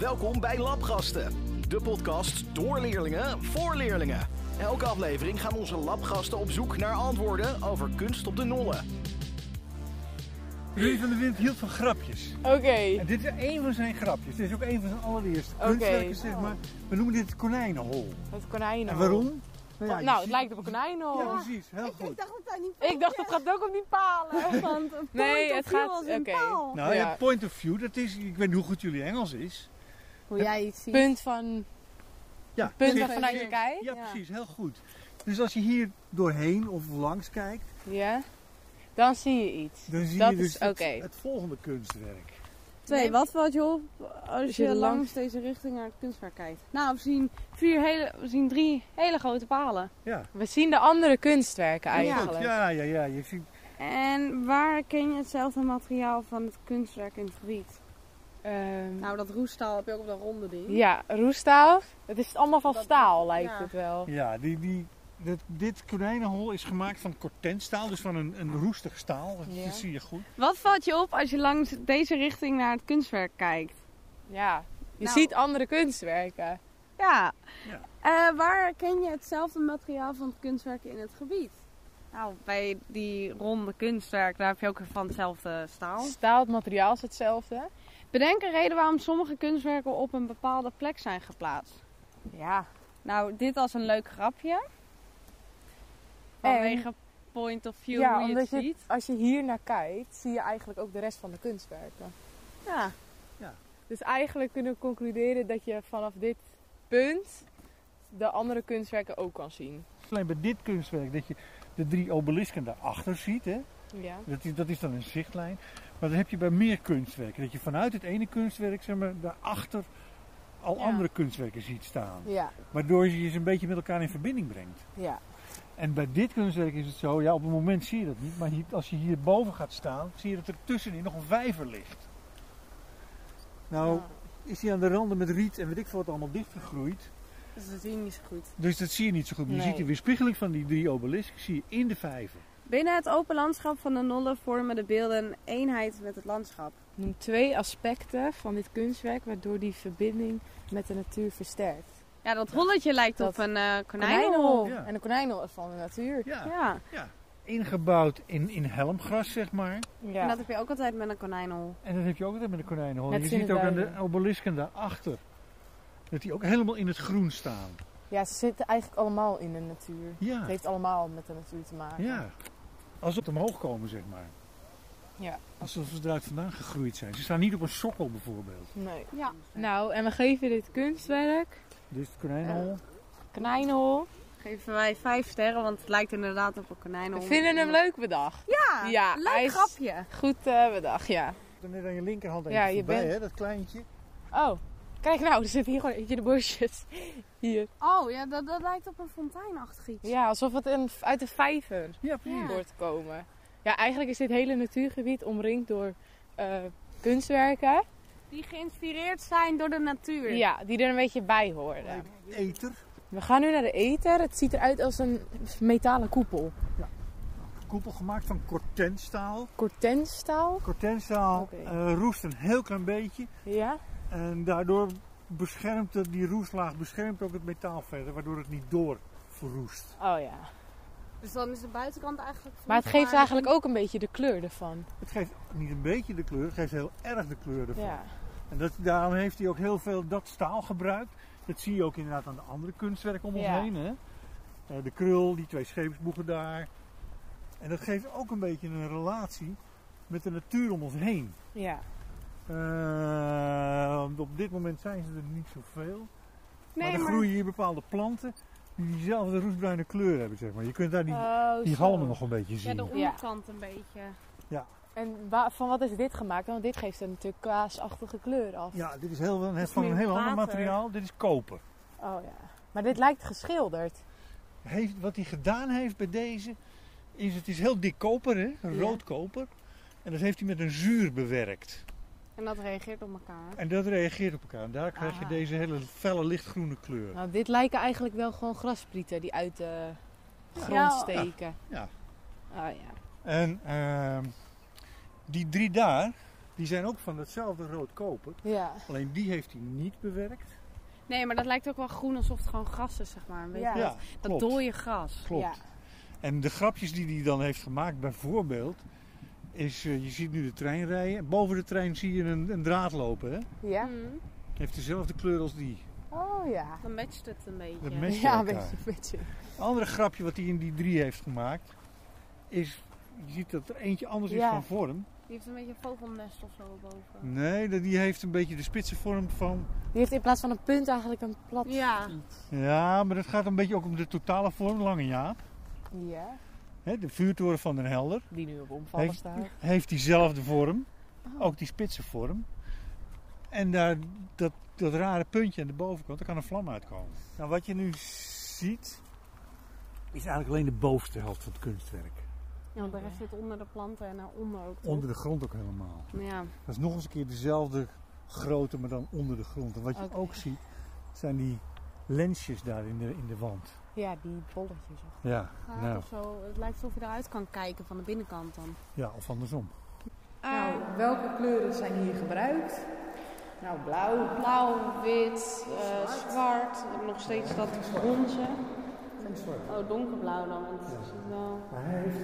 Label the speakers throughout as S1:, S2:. S1: Welkom bij Labgasten, de podcast door leerlingen voor leerlingen. Elke aflevering gaan onze labgasten op zoek naar antwoorden over kunst op de nollen.
S2: Louis van de Wind hield van grapjes.
S3: Oké.
S2: En dit is één van zijn grapjes. Dit is ook één van zijn allereerste
S3: Oké.
S2: kunstwerken, zeg maar. We noemen dit het konijnenhol.
S3: Het konijnen.
S2: En waarom? ja, je
S3: nou, het
S2: ziet-
S3: lijkt op een konijnenhol.
S2: Ja, precies. Heel goed.
S4: dacht dat hij niet
S3: Ik dacht, het gaat ook op die palen.
S4: want een
S3: Nee,
S4: point
S3: het
S4: of view
S3: gaat-
S4: als een
S3: oké.
S4: paal.
S2: Nou, ja.
S3: Ja.
S2: point of view, dat is, ik weet niet hoe goed jullie Engels is.
S4: Hoe jij iets ziet.
S3: Punt van,
S2: Ja,
S3: punt
S2: precies.
S3: van vanuit je kijk.
S2: Dus- Ja,
S4: Ja.
S2: precies, heel goed. Dus als je hier doorheen of langs kijkt,
S3: Ja. Dan zie je iets.
S2: dan zie
S3: Dat
S2: je
S3: is
S2: dus
S3: oké.
S2: het, het volgende kunstwerk.
S4: Twee, wat valt je op
S3: Als
S4: als
S3: je
S4: je
S3: er langs-
S4: langs deze richting naar het kunstwerk kijkt? Nou, we zien, vier hele, we zien drie hele grote palen.
S2: Ja,
S3: We zien de andere kunstwerken
S2: goed.
S3: eigenlijk.
S2: Ja, ja, ja. Je ziet,
S4: En waar ken je hetzelfde materiaal van het kunstwerk in het riet?
S3: Ehm,
S4: Nou, dat roestaal heb je ook op dat ronde ding.
S3: ja, roestaal. Het is allemaal van
S4: Dat-
S3: staal, lijkt
S4: ja.
S3: het wel.
S2: ja, die, die, dat, dit konijnenhol is gemaakt van cortenstaal, dus van een, een roestig staal. Dat,
S3: Ja.
S2: dat zie je goed.
S4: Wat valt je op als je langs deze richting naar het kunstwerk kijkt?
S3: Ja. Je
S4: Nou.
S3: ziet andere kunstwerken.
S4: Ja.
S2: Ja.
S4: Eh, waar ken je hetzelfde materiaal van het kunstwerk in het gebied? Nou, bij die ronde kunstwerk, daar heb je ook van hetzelfde staal.
S3: Staal, het materiaal is hetzelfde.
S4: Bedenk een reden waarom sommige kunstwerken op een bepaalde plek zijn geplaatst.
S3: Ja.
S4: Nou, dit als een leuk grapje. Vanwege point of view
S3: ja,
S4: hoe je
S3: omdat
S4: het
S3: je,
S4: ziet.
S3: als je hier naar kijkt, zie je eigenlijk ook de rest van de kunstwerken.
S4: Ja.
S3: Dus eigenlijk kunnen we concluderen dat je vanaf dit punt de andere kunstwerken ook kan zien.
S2: Alleen bij dit kunstwerk dat je de drie obelisken daarachter ziet. Hè?
S3: Ja.
S2: Dat, is, dat is dan een zichtlijn. Maar dat heb je bij meer kunstwerken. Dat je vanuit het ene kunstwerk zeg maar, daarachter al
S4: Ja.
S2: andere kunstwerken ziet staan.
S3: Ja,
S2: Waardoor je ze een beetje met elkaar in verbinding brengt.
S3: ja.
S2: En bij dit kunstwerk is het zo, ja, op het moment zie je dat niet. Maar hier- als je hierboven gaat staan, zie je dat er tussenin nog een vijver ligt. Nou, is die aan de randen met riet en weet ik veel wat allemaal dichtgegroeid.
S4: Dus dat zie je niet zo goed.
S2: Dus dat zie je niet zo goed. Maar Je
S3: Nee.
S2: ziet de weerspiegeling van die drie obelisken zie je in de vijver.
S4: Binnen het open landschap van de Nollen vormen de beelden een eenheid met het landschap.
S3: Noem twee aspecten van dit kunstwerk waardoor die verbinding met de natuur versterkt.
S4: Ja, dat holletje lijkt
S3: Dat-
S4: op een eh
S3: Konijnenhol.
S4: konijnenhol.
S2: Ja.
S3: En de konijnenhol is van de natuur.
S2: Ja.
S4: Ja.
S2: Ingebouwd in, in helmgras, zeg maar.
S4: en dat heb je ook altijd met een konijnenhol.
S2: En dat heb je ook altijd met de konijnenhol.
S3: Net
S2: je
S3: als in
S2: ziet
S3: de
S2: ook aan de
S3: duinen.
S2: obelisken daarachter. Dat die ook helemaal in het groen staan.
S3: ja, ze zitten eigenlijk allemaal in de natuur.
S2: Ja,
S3: Het heeft allemaal met de natuur te maken.
S2: ja. Als het omhoog komen, zeg maar.
S3: Ja.
S2: Alsof ze eruit vandaan gegroeid zijn. Ze staan niet op een sokkel bijvoorbeeld.
S3: Nee.
S4: Ja.
S3: Nou, en we geven dit kunstwerk,
S2: Dus het konijnenhol.
S3: konijnenhol.
S4: Geven wij vijf sterren, want het lijkt inderdaad op een
S3: We
S4: konijnenhol.
S3: vinden hem leuk bedacht.
S4: Ja,
S3: Ja,
S4: leuk
S3: hij is-
S4: grapje.
S3: Goed eh, bedacht, ja.
S2: Dan net aan je linkerhand even
S3: Ja, je
S2: voorbij,
S3: bent-
S2: hè, dat kleintje.
S3: Oh, kijk nou, er zitten hier gewoon eentje de bosjes. Hier.
S4: Oh, ja, dat, dat lijkt op een fonteinachtig iets.
S3: Ja, alsof het een, uit de vijver
S2: Ja, precies.
S4: Ja.
S3: wordt komen. Ja, eigenlijk is dit hele natuurgebied omringd door eh, kunstwerken.
S4: Die geïnspireerd zijn door de natuur.
S3: Ja, die er een beetje bij horen.
S2: Eter.
S3: We gaan nu naar de eter. Het ziet eruit als een metalen koepel.
S2: Koepel gemaakt van cortenstaal.
S3: Cortenstaal.
S2: Cortenstaal
S3: Oké.
S2: eh, roest een heel klein beetje.
S3: Ja.
S2: En daardoor beschermt het- die roestlaag beschermt ook het metaal verder, waardoor het niet door verroest.
S3: Oh ja.
S4: Dus dan is de buitenkant eigenlijk...
S3: Maar het geeft eigenlijk ook een beetje de kleur ervan.
S2: Het geeft niet een beetje de kleur, het geeft heel erg de kleur ervan.
S3: Ja.
S2: En dat, daarom heeft hij ook heel veel dat staal gebruikt. Dat zie je ook inderdaad aan de andere kunstwerken om ons
S3: Ja.
S2: heen. Hè? Eh, de krul, die twee scheepsboegen daar. En dat geeft ook een beetje een relatie met de natuur om ons heen.
S3: Ja.
S2: Eh, want op dit moment zijn ze er niet zoveel.
S4: Nee,
S2: maar er
S4: maar-
S2: groeien hier bepaalde planten die diezelfde roestbruine kleur hebben, zeg maar. Je kunt daar die, die galmen nog een beetje
S4: Oh, Ja,
S2: zien.
S4: de
S3: zien. Ja.
S4: onderkant een beetje.
S3: En wa- van wat is dit gemaakt? Want dit geeft een natuurlijk kaasachtige kleur af.
S2: Ja, dit is heel, het
S4: is
S2: van een
S4: meer
S2: heel ander
S4: water.
S2: materiaal. Dit is koper.
S3: Oh ja. Maar dit lijkt geschilderd.
S2: Heeft, wat hij gedaan heeft bij deze, is het is heel dik koper, hè?
S3: Ja.
S2: rood koper. En dat heeft hij met een zuur bewerkt.
S4: En dat reageert op elkaar.
S2: En dat reageert op elkaar. En daar krijg je
S3: Ah.
S2: deze hele felle lichtgroene kleur.
S4: Ah.
S3: Nou, dit lijken eigenlijk wel gewoon grasprieten die uit de grond steken.
S2: Ja.
S3: Oh ja.
S2: En ehm, die drie daar, Die zijn ook van hetzelfde roodkoper.
S3: Ja.
S2: Alleen die heeft hij niet bewerkt.
S4: Nee, maar dat lijkt ook wel groen alsof het gewoon gras is, zeg maar. Een beetje
S3: Ja,
S4: dat- dat
S2: klopt.
S4: dooie gras.
S2: Klopt.
S3: Ja.
S2: En de grapjes die hij dan heeft gemaakt, bijvoorbeeld, is eh, je ziet nu de trein rijden. Boven de trein zie je een, een draad lopen. Hè?
S3: Ja?
S4: Mm,
S2: Heeft dezelfde kleur als die.
S3: Oh ja.
S4: dan matcht het een beetje.
S2: Dat matcht
S3: ja, een
S2: elkaar.
S3: beetje, een beetje.
S2: Een andere grapje wat hij in die drie heeft gemaakt, is je ziet dat er eentje anders is
S3: Ja.
S2: van vorm.
S4: Die heeft een beetje een vogelnest of zo boven.
S2: Nee, dat- die heeft een beetje de spitse vorm van.
S3: Die heeft in plaats van een punt eigenlijk een plat
S4: Ja.
S3: iets.
S2: Ja, maar dat gaat een beetje ook om de totale vorm, lange jaap.
S3: Ja.
S2: Hè, de vuurtoren van Den Helder.
S3: Die nu op omvallen
S2: Heeft-
S3: staat.
S2: heeft diezelfde vorm,
S3: Oh.
S2: ook die spitse vorm. En daar, dat, dat rare puntje aan de bovenkant, daar kan een vlam uitkomen. Nou, wat je nu ziet, is eigenlijk alleen de bovenste helft van het kunstwerk.
S4: Ja, want de rest zit onder de planten en daaronder ook. toch?
S2: Onder de grond ook helemaal.
S4: Ja.
S2: Dat is nog eens een keer dezelfde grootte, maar dan onder de grond. En wat je
S3: Oké.
S2: ook ziet, zijn die lensjes daar in de, in de wand.
S3: Ja, die bolletjes. of-
S2: Ja,
S4: Gaat
S2: nou,
S4: of zo. Het lijkt alsof je eruit kan kijken van de binnenkant dan.
S2: ja of andersom.
S3: Nou, welke kleuren zijn hier gebruikt? Nou, blauw.
S4: Blauw, wit, eh, zwart. Nog steeds dat bronzen. Oh, donkerblauw dan. want het is wel-
S2: Maar hij heeft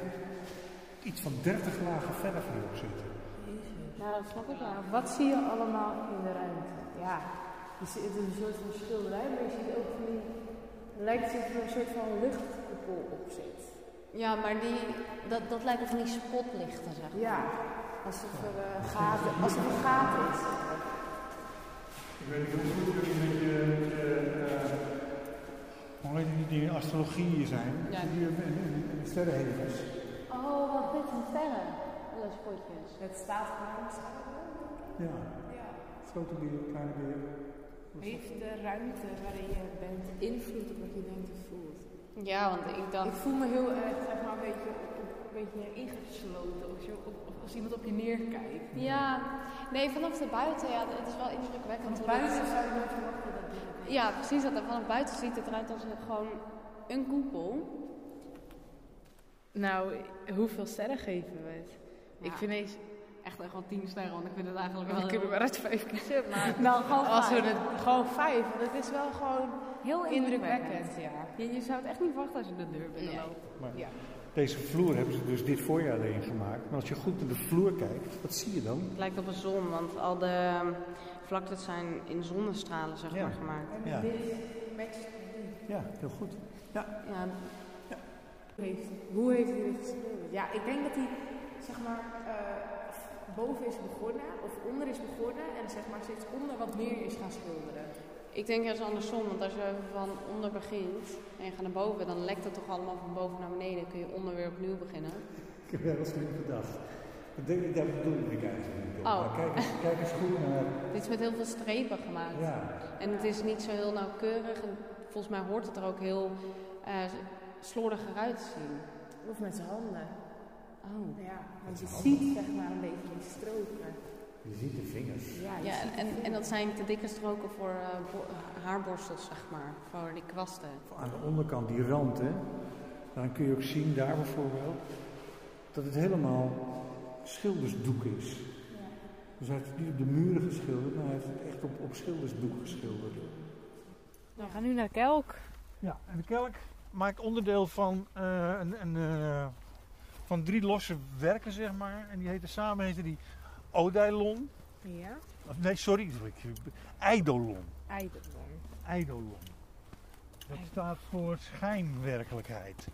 S2: iets van 30 lagen verf hierop zitten.
S4: Ja, dat snap ik wel.
S3: Wat zie je allemaal in de ruimte? Ja, je ziet- het is een soort van schilderij, maar je ziet ook van die... Het lijkt alsof er een soort van luchtkoepel op zit.
S4: Ja, maar die, dat, dat lijkt op van die spotlichten, zeg maar.
S3: Ja, alsof er eh, gaten, alsof er gaten is.
S2: Ik weet niet hoe goed jullie met je, met je, eh, hoe heet die dingen, astrologie zijn.
S4: Ja.
S2: Die en- en- en sterrenhevens.
S4: Oh, wat dit zijn sterren. Alle spotjes.
S3: Het staat gewoon.
S2: Ja. Grote beer, kleine beer.
S3: Heeft de ruimte waarin je bent invloed op wat je denkt of voelt?
S4: Ja, want ik
S3: Ik
S4: dacht...
S3: voel me heel erg, zeg maar, een beetje, een beetje ingesloten of zo. Of- of als iemand op je neerkijkt.
S4: Ja, nee, vanaf de buiten, ja, het is wel indrukwekkend. hoe
S3: Buiten
S4: dat-
S3: zou je nooit verwachten dat dit-
S4: Ja, precies dat. En vanaf buiten ziet het eruit als een- gewoon een koepel.
S5: Nou, hoeveel sterren geven we het?
S4: Ja.
S5: Ik vind deze...
S4: Echt echt wel tien sterren, want ik vind het eigenlijk
S5: Ik heb er maar uit vijf kiezen, maar...
S4: Nou, gewoon
S5: Als we
S4: fijn.
S5: het gewoon vijf, want het is wel gewoon
S4: heel
S5: indrukwekkend, ja.
S4: Je, je zou het echt niet verwachten als je de deur binnenloopt.
S2: Maar
S5: Ja.
S2: Deze vloer hebben ze dus dit voorjaar alleen gemaakt. Maar als je goed naar de vloer kijkt, wat zie je dan?
S4: Het lijkt op een zon, want al de ehm, vlaktes zijn in zonnestralen zeg
S2: Ja.
S4: maar, gemaakt.
S2: Ja. Ja, heel goed.
S4: Ja,
S5: Heeft, hoe heeft hij dit geschilderd? Ja, ik denk dat hij, zeg maar, eh, boven is begonnen, of onder is begonnen, en zeg maar steeds onder wat meer is gaan schilderen.
S4: ik denk juist andersom, want als je van onder begint en je gaat naar boven, dan lekt het toch allemaal van boven naar beneden. kun je onder weer opnieuw beginnen.
S2: Ik heb wel eens slim gedacht. Dat denk ik, dat bedoelde ik eigenlijk niet. op.
S4: Oh.
S2: Maar kijk, eens- kijk eens goed naar...
S4: Dit is met heel veel strepen gemaakt.
S2: Ja.
S4: En het is niet zo heel nauwkeurig. En volgens mij hoort het er ook heel eh, slordiger uit te zien.
S5: Of met zijn handen.
S4: Oh.
S5: Ja, want je ziet zeg maar een beetje die stroken.
S2: Je ziet de vingers.
S5: Ja, je
S4: Ja,
S5: ziet-
S4: en, en dat zijn te dikke stroken voor eh, bo- haarborstels, zeg maar. Voor die kwasten.
S2: Aan de onderkant, die rand, hè, dan kun je ook zien daar bijvoorbeeld dat het helemaal schildersdoek is. Dus hij heeft het niet op de muren geschilderd, maar hij heeft het echt op, op schildersdoek geschilderd.
S3: Nou, we gaan nu naar de kelk.
S2: Ja, en de kelk maakt onderdeel van, eh, een, een, eh, van drie losse werken, zeg maar. En die heten samen heten die Odeilon.
S5: ja.
S2: Of, nee, sorry, ik- ik- Eidolon.
S5: Eidolon.
S2: Eidolon. Dat staat voor schijnwerkelijkheid.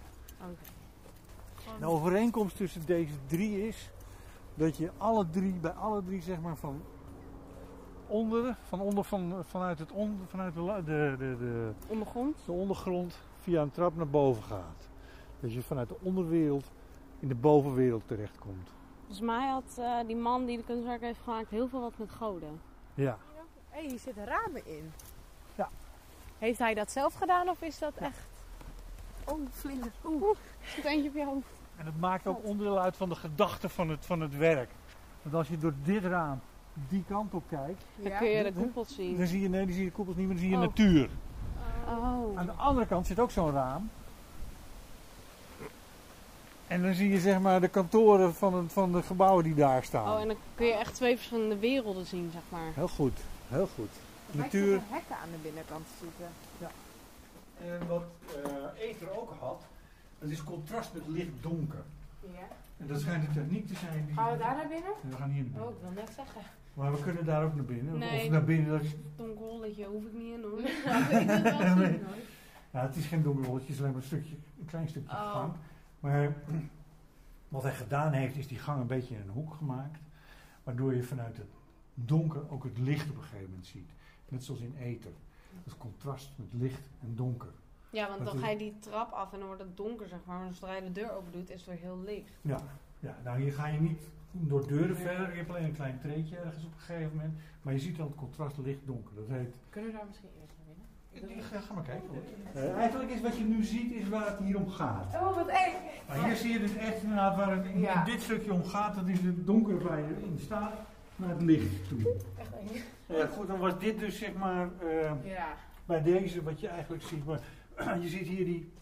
S2: De overeenkomst tussen deze drie is dat je alle drie, bij alle drie zeg maar van onder, van onder van, vanuit, het on, vanuit de, la- de, de, de,
S4: Ondergrond?
S2: de ondergrond via een trap naar boven gaat. Dat je vanuit de onderwereld in de bovenwereld terechtkomt.
S4: Volgens mij had eh, die man die de kunstwerk heeft gemaakt heel veel wat met goden.
S2: Ja,
S3: Hé, hier zitten ramen in.
S2: Ja.
S3: Heeft hij dat zelf gedaan of is dat echt... Oh, vlinder. Oeh,
S4: Zit eentje op je hoofd?
S2: en het maakt ook onderdeel uit van de gedachte van het, van het werk. Want als je door dit raam die kant op kijkt,
S4: Dan
S3: ja.
S4: kun je de koepels
S2: dan
S4: zien.
S2: zie je, nee, dan zie je de koepels niet meer, dan zie je
S4: Oh.
S2: natuur.
S4: Oh.
S2: Aan de andere kant zit ook zo'n raam. En dan zie je zeg maar de kantoren van, het- van de gebouwen die daar staan.
S4: Oh, en dan kun je echt twee verschillende werelden zien, zeg maar.
S2: Heel goed, heel goed. Natuur.
S5: Natuur. hekken aan de binnenkant zitten.
S2: En wat eh Ether ook had, dat is contrast met licht-donker.
S5: Ja.
S2: En dat schijnt een techniek te zijn die...
S5: Gaan we daar naar binnen?
S2: Nee, We gaan hier naar binnen.
S5: Oh, ik wil net zeggen.
S2: Maar we kunnen daar ook naar binnen.
S4: Nee.
S2: Of naar binnen, dat is,
S4: Donker holletje hoef ik niet in hoor.
S2: nou, het is geen donker holletje, het is alleen maar een stukje, een klein stukje
S5: Oh.
S2: gang. Maar eh, wat hij gedaan heeft, is die gang een beetje in een hoek gemaakt. Waardoor je vanuit het donker ook het licht op een gegeven moment ziet. Net zoals in ether. Het contrast met licht en donker.
S4: Ja, want
S2: Dat
S4: dan
S2: is-
S4: ga je die trap af en dan wordt het donker, zeg maar. Maar zodra je de deur open doet, is het weer heel licht.
S2: Ja, ja nou hier ga je niet door deuren verder. Je hebt alleen een klein treetje ergens op een gegeven moment. Maar je ziet dan het contrast licht-donker. Dat heet
S5: Kunnen we daar misschien eerst naar binnen?
S2: Ja, ga maar kijken. hoor. Eh, eigenlijk is wat je nu ziet, is waar het hier om gaat.
S5: Oh, wat eng!
S2: Maar hier zie je dus echt inderdaad waar het in, in
S5: Ja.
S2: dit stukje om gaat. Dat is het donker waar je in staat, naar het licht toe.
S5: Echt eng.
S2: Ja, goed, dan was dit dus zeg maar eh,
S5: Ja.
S2: bij deze wat je eigenlijk ziet. Maar je ziet hier die,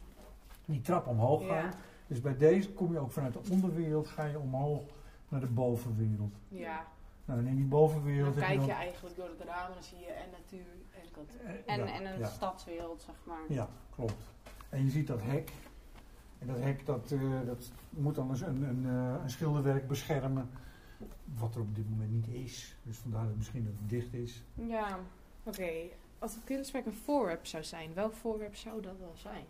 S2: die trap omhoog gaan.
S5: Ja.
S2: Dus bij deze kom je ook vanuit de onderwereld, ga je omhoog naar de bovenwereld.
S5: Ja.
S2: Nou, en in die bovenwereld
S5: Dan
S2: heb
S5: kijk
S2: je
S5: je
S2: dan...
S5: eigenlijk door het raam en dan zie je en natuur en kantoor.
S2: eh,
S4: En,
S2: ja,
S4: en een
S2: ja.
S4: stadswereld, zeg maar.
S2: Ja, klopt. En je ziet dat hek. En dat hek dat, eh, dat moet dan eens een, een, eh, een schilderwerk beschermen. Wat er op dit moment niet is. Dus vandaar dat het misschien dat het dicht is.
S4: Ja.
S5: Oké, als het kunstwerk een voorwerp zou zijn, welk voorwerp zou dat wel zijn?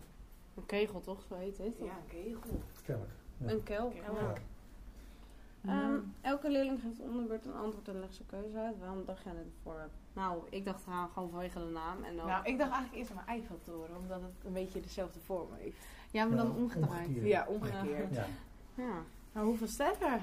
S4: Een kegel toch, zo heet het?
S5: een kegel.
S2: Kelk. Ja.
S4: Een kel.
S5: Kel.
S4: ja.
S2: Ja.
S4: Ehm, elke leerling geeft om de beurt een antwoord en legt zijn keuze uit. Waarom dacht jij dit voor? Nou, ik dacht eraan gewoon vanwege de naam. En dan...
S5: Nou, ik dacht eigenlijk eerst aan mijn Eiffeltoren, omdat het een beetje dezelfde vorm heeft.
S4: ja, maar dan
S2: Ja,
S4: omgedraaid.
S5: Ja,
S2: omgekeerd. Ja.
S5: omgekeerd.
S2: Ja.
S4: Ja.
S5: Nou, hoeveel sterren?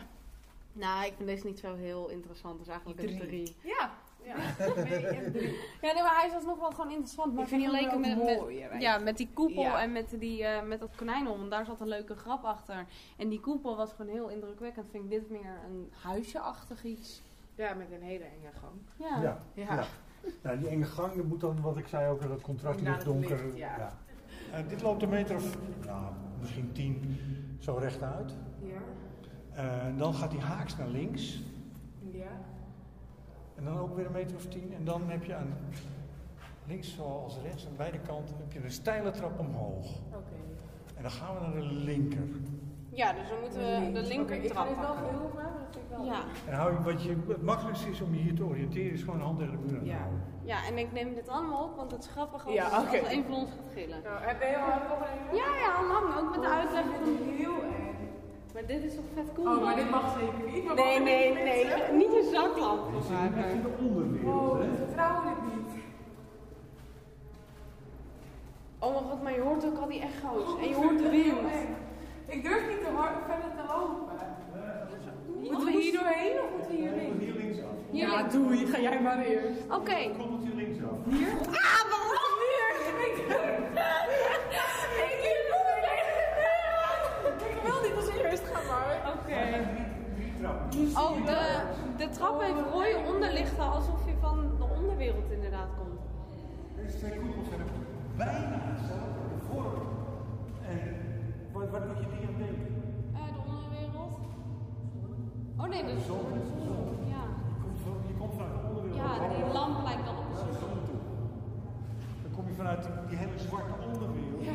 S4: Nou, ik vind deze niet zo heel interessant. Dus eigenlijk een
S5: Drie.
S4: drie.
S5: Ja. ja. Twee en drie.
S4: Ja, nee, maar hij is alsnog wel gewoon interessant. Maar vergeleken met, met, Ja, met die koepel
S5: Ja.
S4: en met, die, eh, met dat konijnenhol. Want daar zat een leuke grap achter. En die koepel was gewoon heel indrukwekkend. Vind ik dit meer een huisje-achtig iets.
S5: ja, met een hele enge gang.
S4: Ja.
S2: Ja.
S5: Ja.
S2: Ja. Nou, die enge gang, dat moet dan, wat ik zei ook, dat contrast
S5: Naar
S2: licht
S5: het
S2: donker.
S5: licht, ja.
S2: Eh, dit loopt een meter of, nou, misschien tien, zo rechtuit.
S5: Ja.
S2: Eh dan gaat die haaks naar links.
S5: Ja.
S2: En dan ook weer een meter of tien. En dan heb je aan links zoals rechts, aan beide kanten, heb je een steile trap omhoog.
S5: Oké.
S2: En dan gaan we naar de linker.
S4: Ja, dus dan moeten we de linker
S5: Ik ga
S4: trap
S5: dit wel
S4: pakken.
S5: geheel maar dat vind ik wel...
S4: Ja.
S2: En hou je, wat je, het makkelijkste is om je hier te oriënteren, is gewoon de hand tegen de muur aan te
S5: Ja.
S2: houden.
S4: ja, en ik neem dit allemaal op, want het is grappig als,
S5: Ja, oké.
S4: als een van ons gaat gillen.
S5: Nou, heb je al nog een...
S4: Ja, ja, hang, hang, ook met de uitleg van...
S5: Heel eng.
S4: Maar dit is toch vet cool,
S5: Oh, maar
S4: man?
S5: dit mag zeker niet. maar
S4: Nee,
S5: mag
S4: nee,
S5: dit
S4: nee.
S5: mensen?
S4: Niet je zaklamp
S2: Dit is echt in
S4: gebruiken.
S2: de onderwereld,
S5: Oh,
S2: hè?
S5: we vertrouwen dit niet.
S4: Oh mijn god, maar je hoort ook al die echo's. En je hoort de wind.
S5: Ik durf niet te hard verder te lopen. Moeten we
S4: hoest-
S5: hier doorheen of moeten we hier links?
S2: Hier linksaf.
S4: Hier
S5: Ja,
S4: ligt-
S5: doei. Ga jij maar eerst.
S4: Oké.
S2: Koppeltje linksaf.
S5: Ah, waarom? Hier. Ik durf Ik durf niet. Ik wil niet als eerst gaan, maar... Oké.
S2: Drie trappen.
S4: Oh, de, de trap heeft rode onderlichten alsof je van de onderwereld inderdaad komt.
S2: Dus twee koepels zijn ook bijna dezelfde vorm. En wat, wat moet je die aan denken?
S4: Eh, de onderwereld? Oh nee, de zon. Ja.
S2: Je komt, van- je komt vanuit de onderwereld.
S4: ja, die lamp lijkt dan op de zon.
S2: Dan kom je vanuit die, die hele zwarte onderwereld,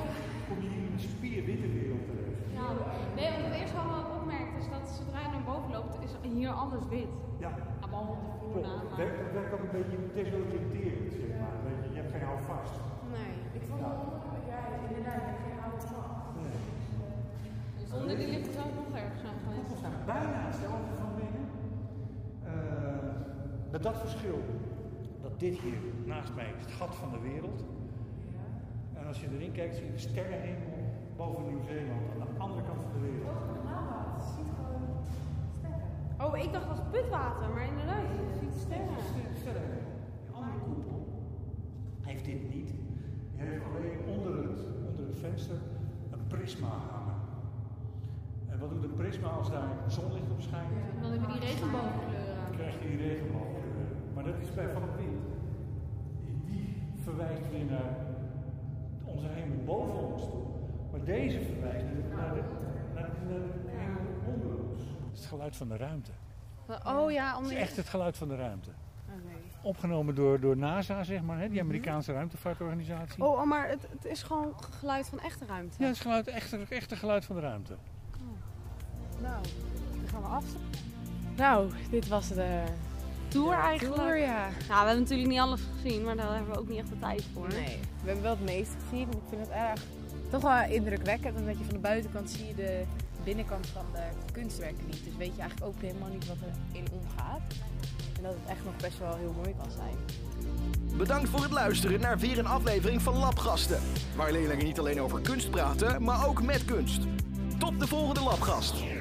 S2: kom je in een spierwitte wereld terecht.
S4: Ja. Nee, want het eerste wat me ook opmerkt is dat zodra je naar boven loopt, is hier alles wit.
S2: Ja,
S4: Ja, behalve de vloer
S2: klopt.
S4: na,
S2: Dat
S4: maar...
S2: werkt, dat werkt ook een beetje desoriënterend, zeg maar. Weet je, je hebt geen houvast.
S4: Nee.
S5: Ik vond het...
S3: Oh,
S5: Ja, inderdaad. Ik hou het van.
S4: Dus onder die lichten zou ik nog ergens zijn geweest.
S2: Bijna hetzelfde van binnen. Eh, met dat verschil dat dit hier naast mij is het gat van de wereld. En als je erin kijkt, zie je de sterrenhemel boven Nieuw-Zeeland aan de andere kant van de wereld.
S4: Oh, ik dacht dat was putwater, maar inderdaad, je ziet sterren.
S2: Sterrenhemel. Die andere koepel heeft dit niet. Die heeft alleen onder het, onder het venster een prisma hangen. En wat doet een prisma als daar zonlicht op schijnt?
S4: En dan hebben we die regenboogkleuren.
S2: Dan krijg je die regenboog. eh, Maar dat is bij Van het Wind. Die verwijst weer naar onze hemel boven ons toe. Maar deze verwijst naar de, naar de, naar Het is het geluid van de ruimte.
S4: Oh ja,
S2: Het
S4: omdat
S2: is echt het geluid van de ruimte.
S4: Oké.
S2: Opgenomen door, door NASA, zeg maar, hè, die Amerikaanse ruimtevaartorganisatie.
S4: Oh, oh, maar het, het is gewoon geluid van echte ruimte.
S2: Ja, het is geluid, echt, echt het geluid van de ruimte.
S4: Nou, dan gaan we af.
S3: Nou, dit was de
S4: Tour eigenlijk.
S3: tour, ja.
S4: Nou, we hebben natuurlijk niet alles gezien, maar daar hebben we ook niet echt de tijd voor.
S3: Nee, we hebben wel het meeste gezien. Ik vind het erg toch wel indrukwekkend, omdat je van de buitenkant zie je de binnenkant van de kunstwerken niet. Dus weet je eigenlijk ook helemaal niet wat er in omgaat. En dat het echt nog best wel heel mooi kan zijn.
S1: Bedankt voor het luisteren naar weer een aflevering van Labgasten. Waar leerlingen niet alleen over kunst praten, maar ook met kunst. Tot de volgende Labgast.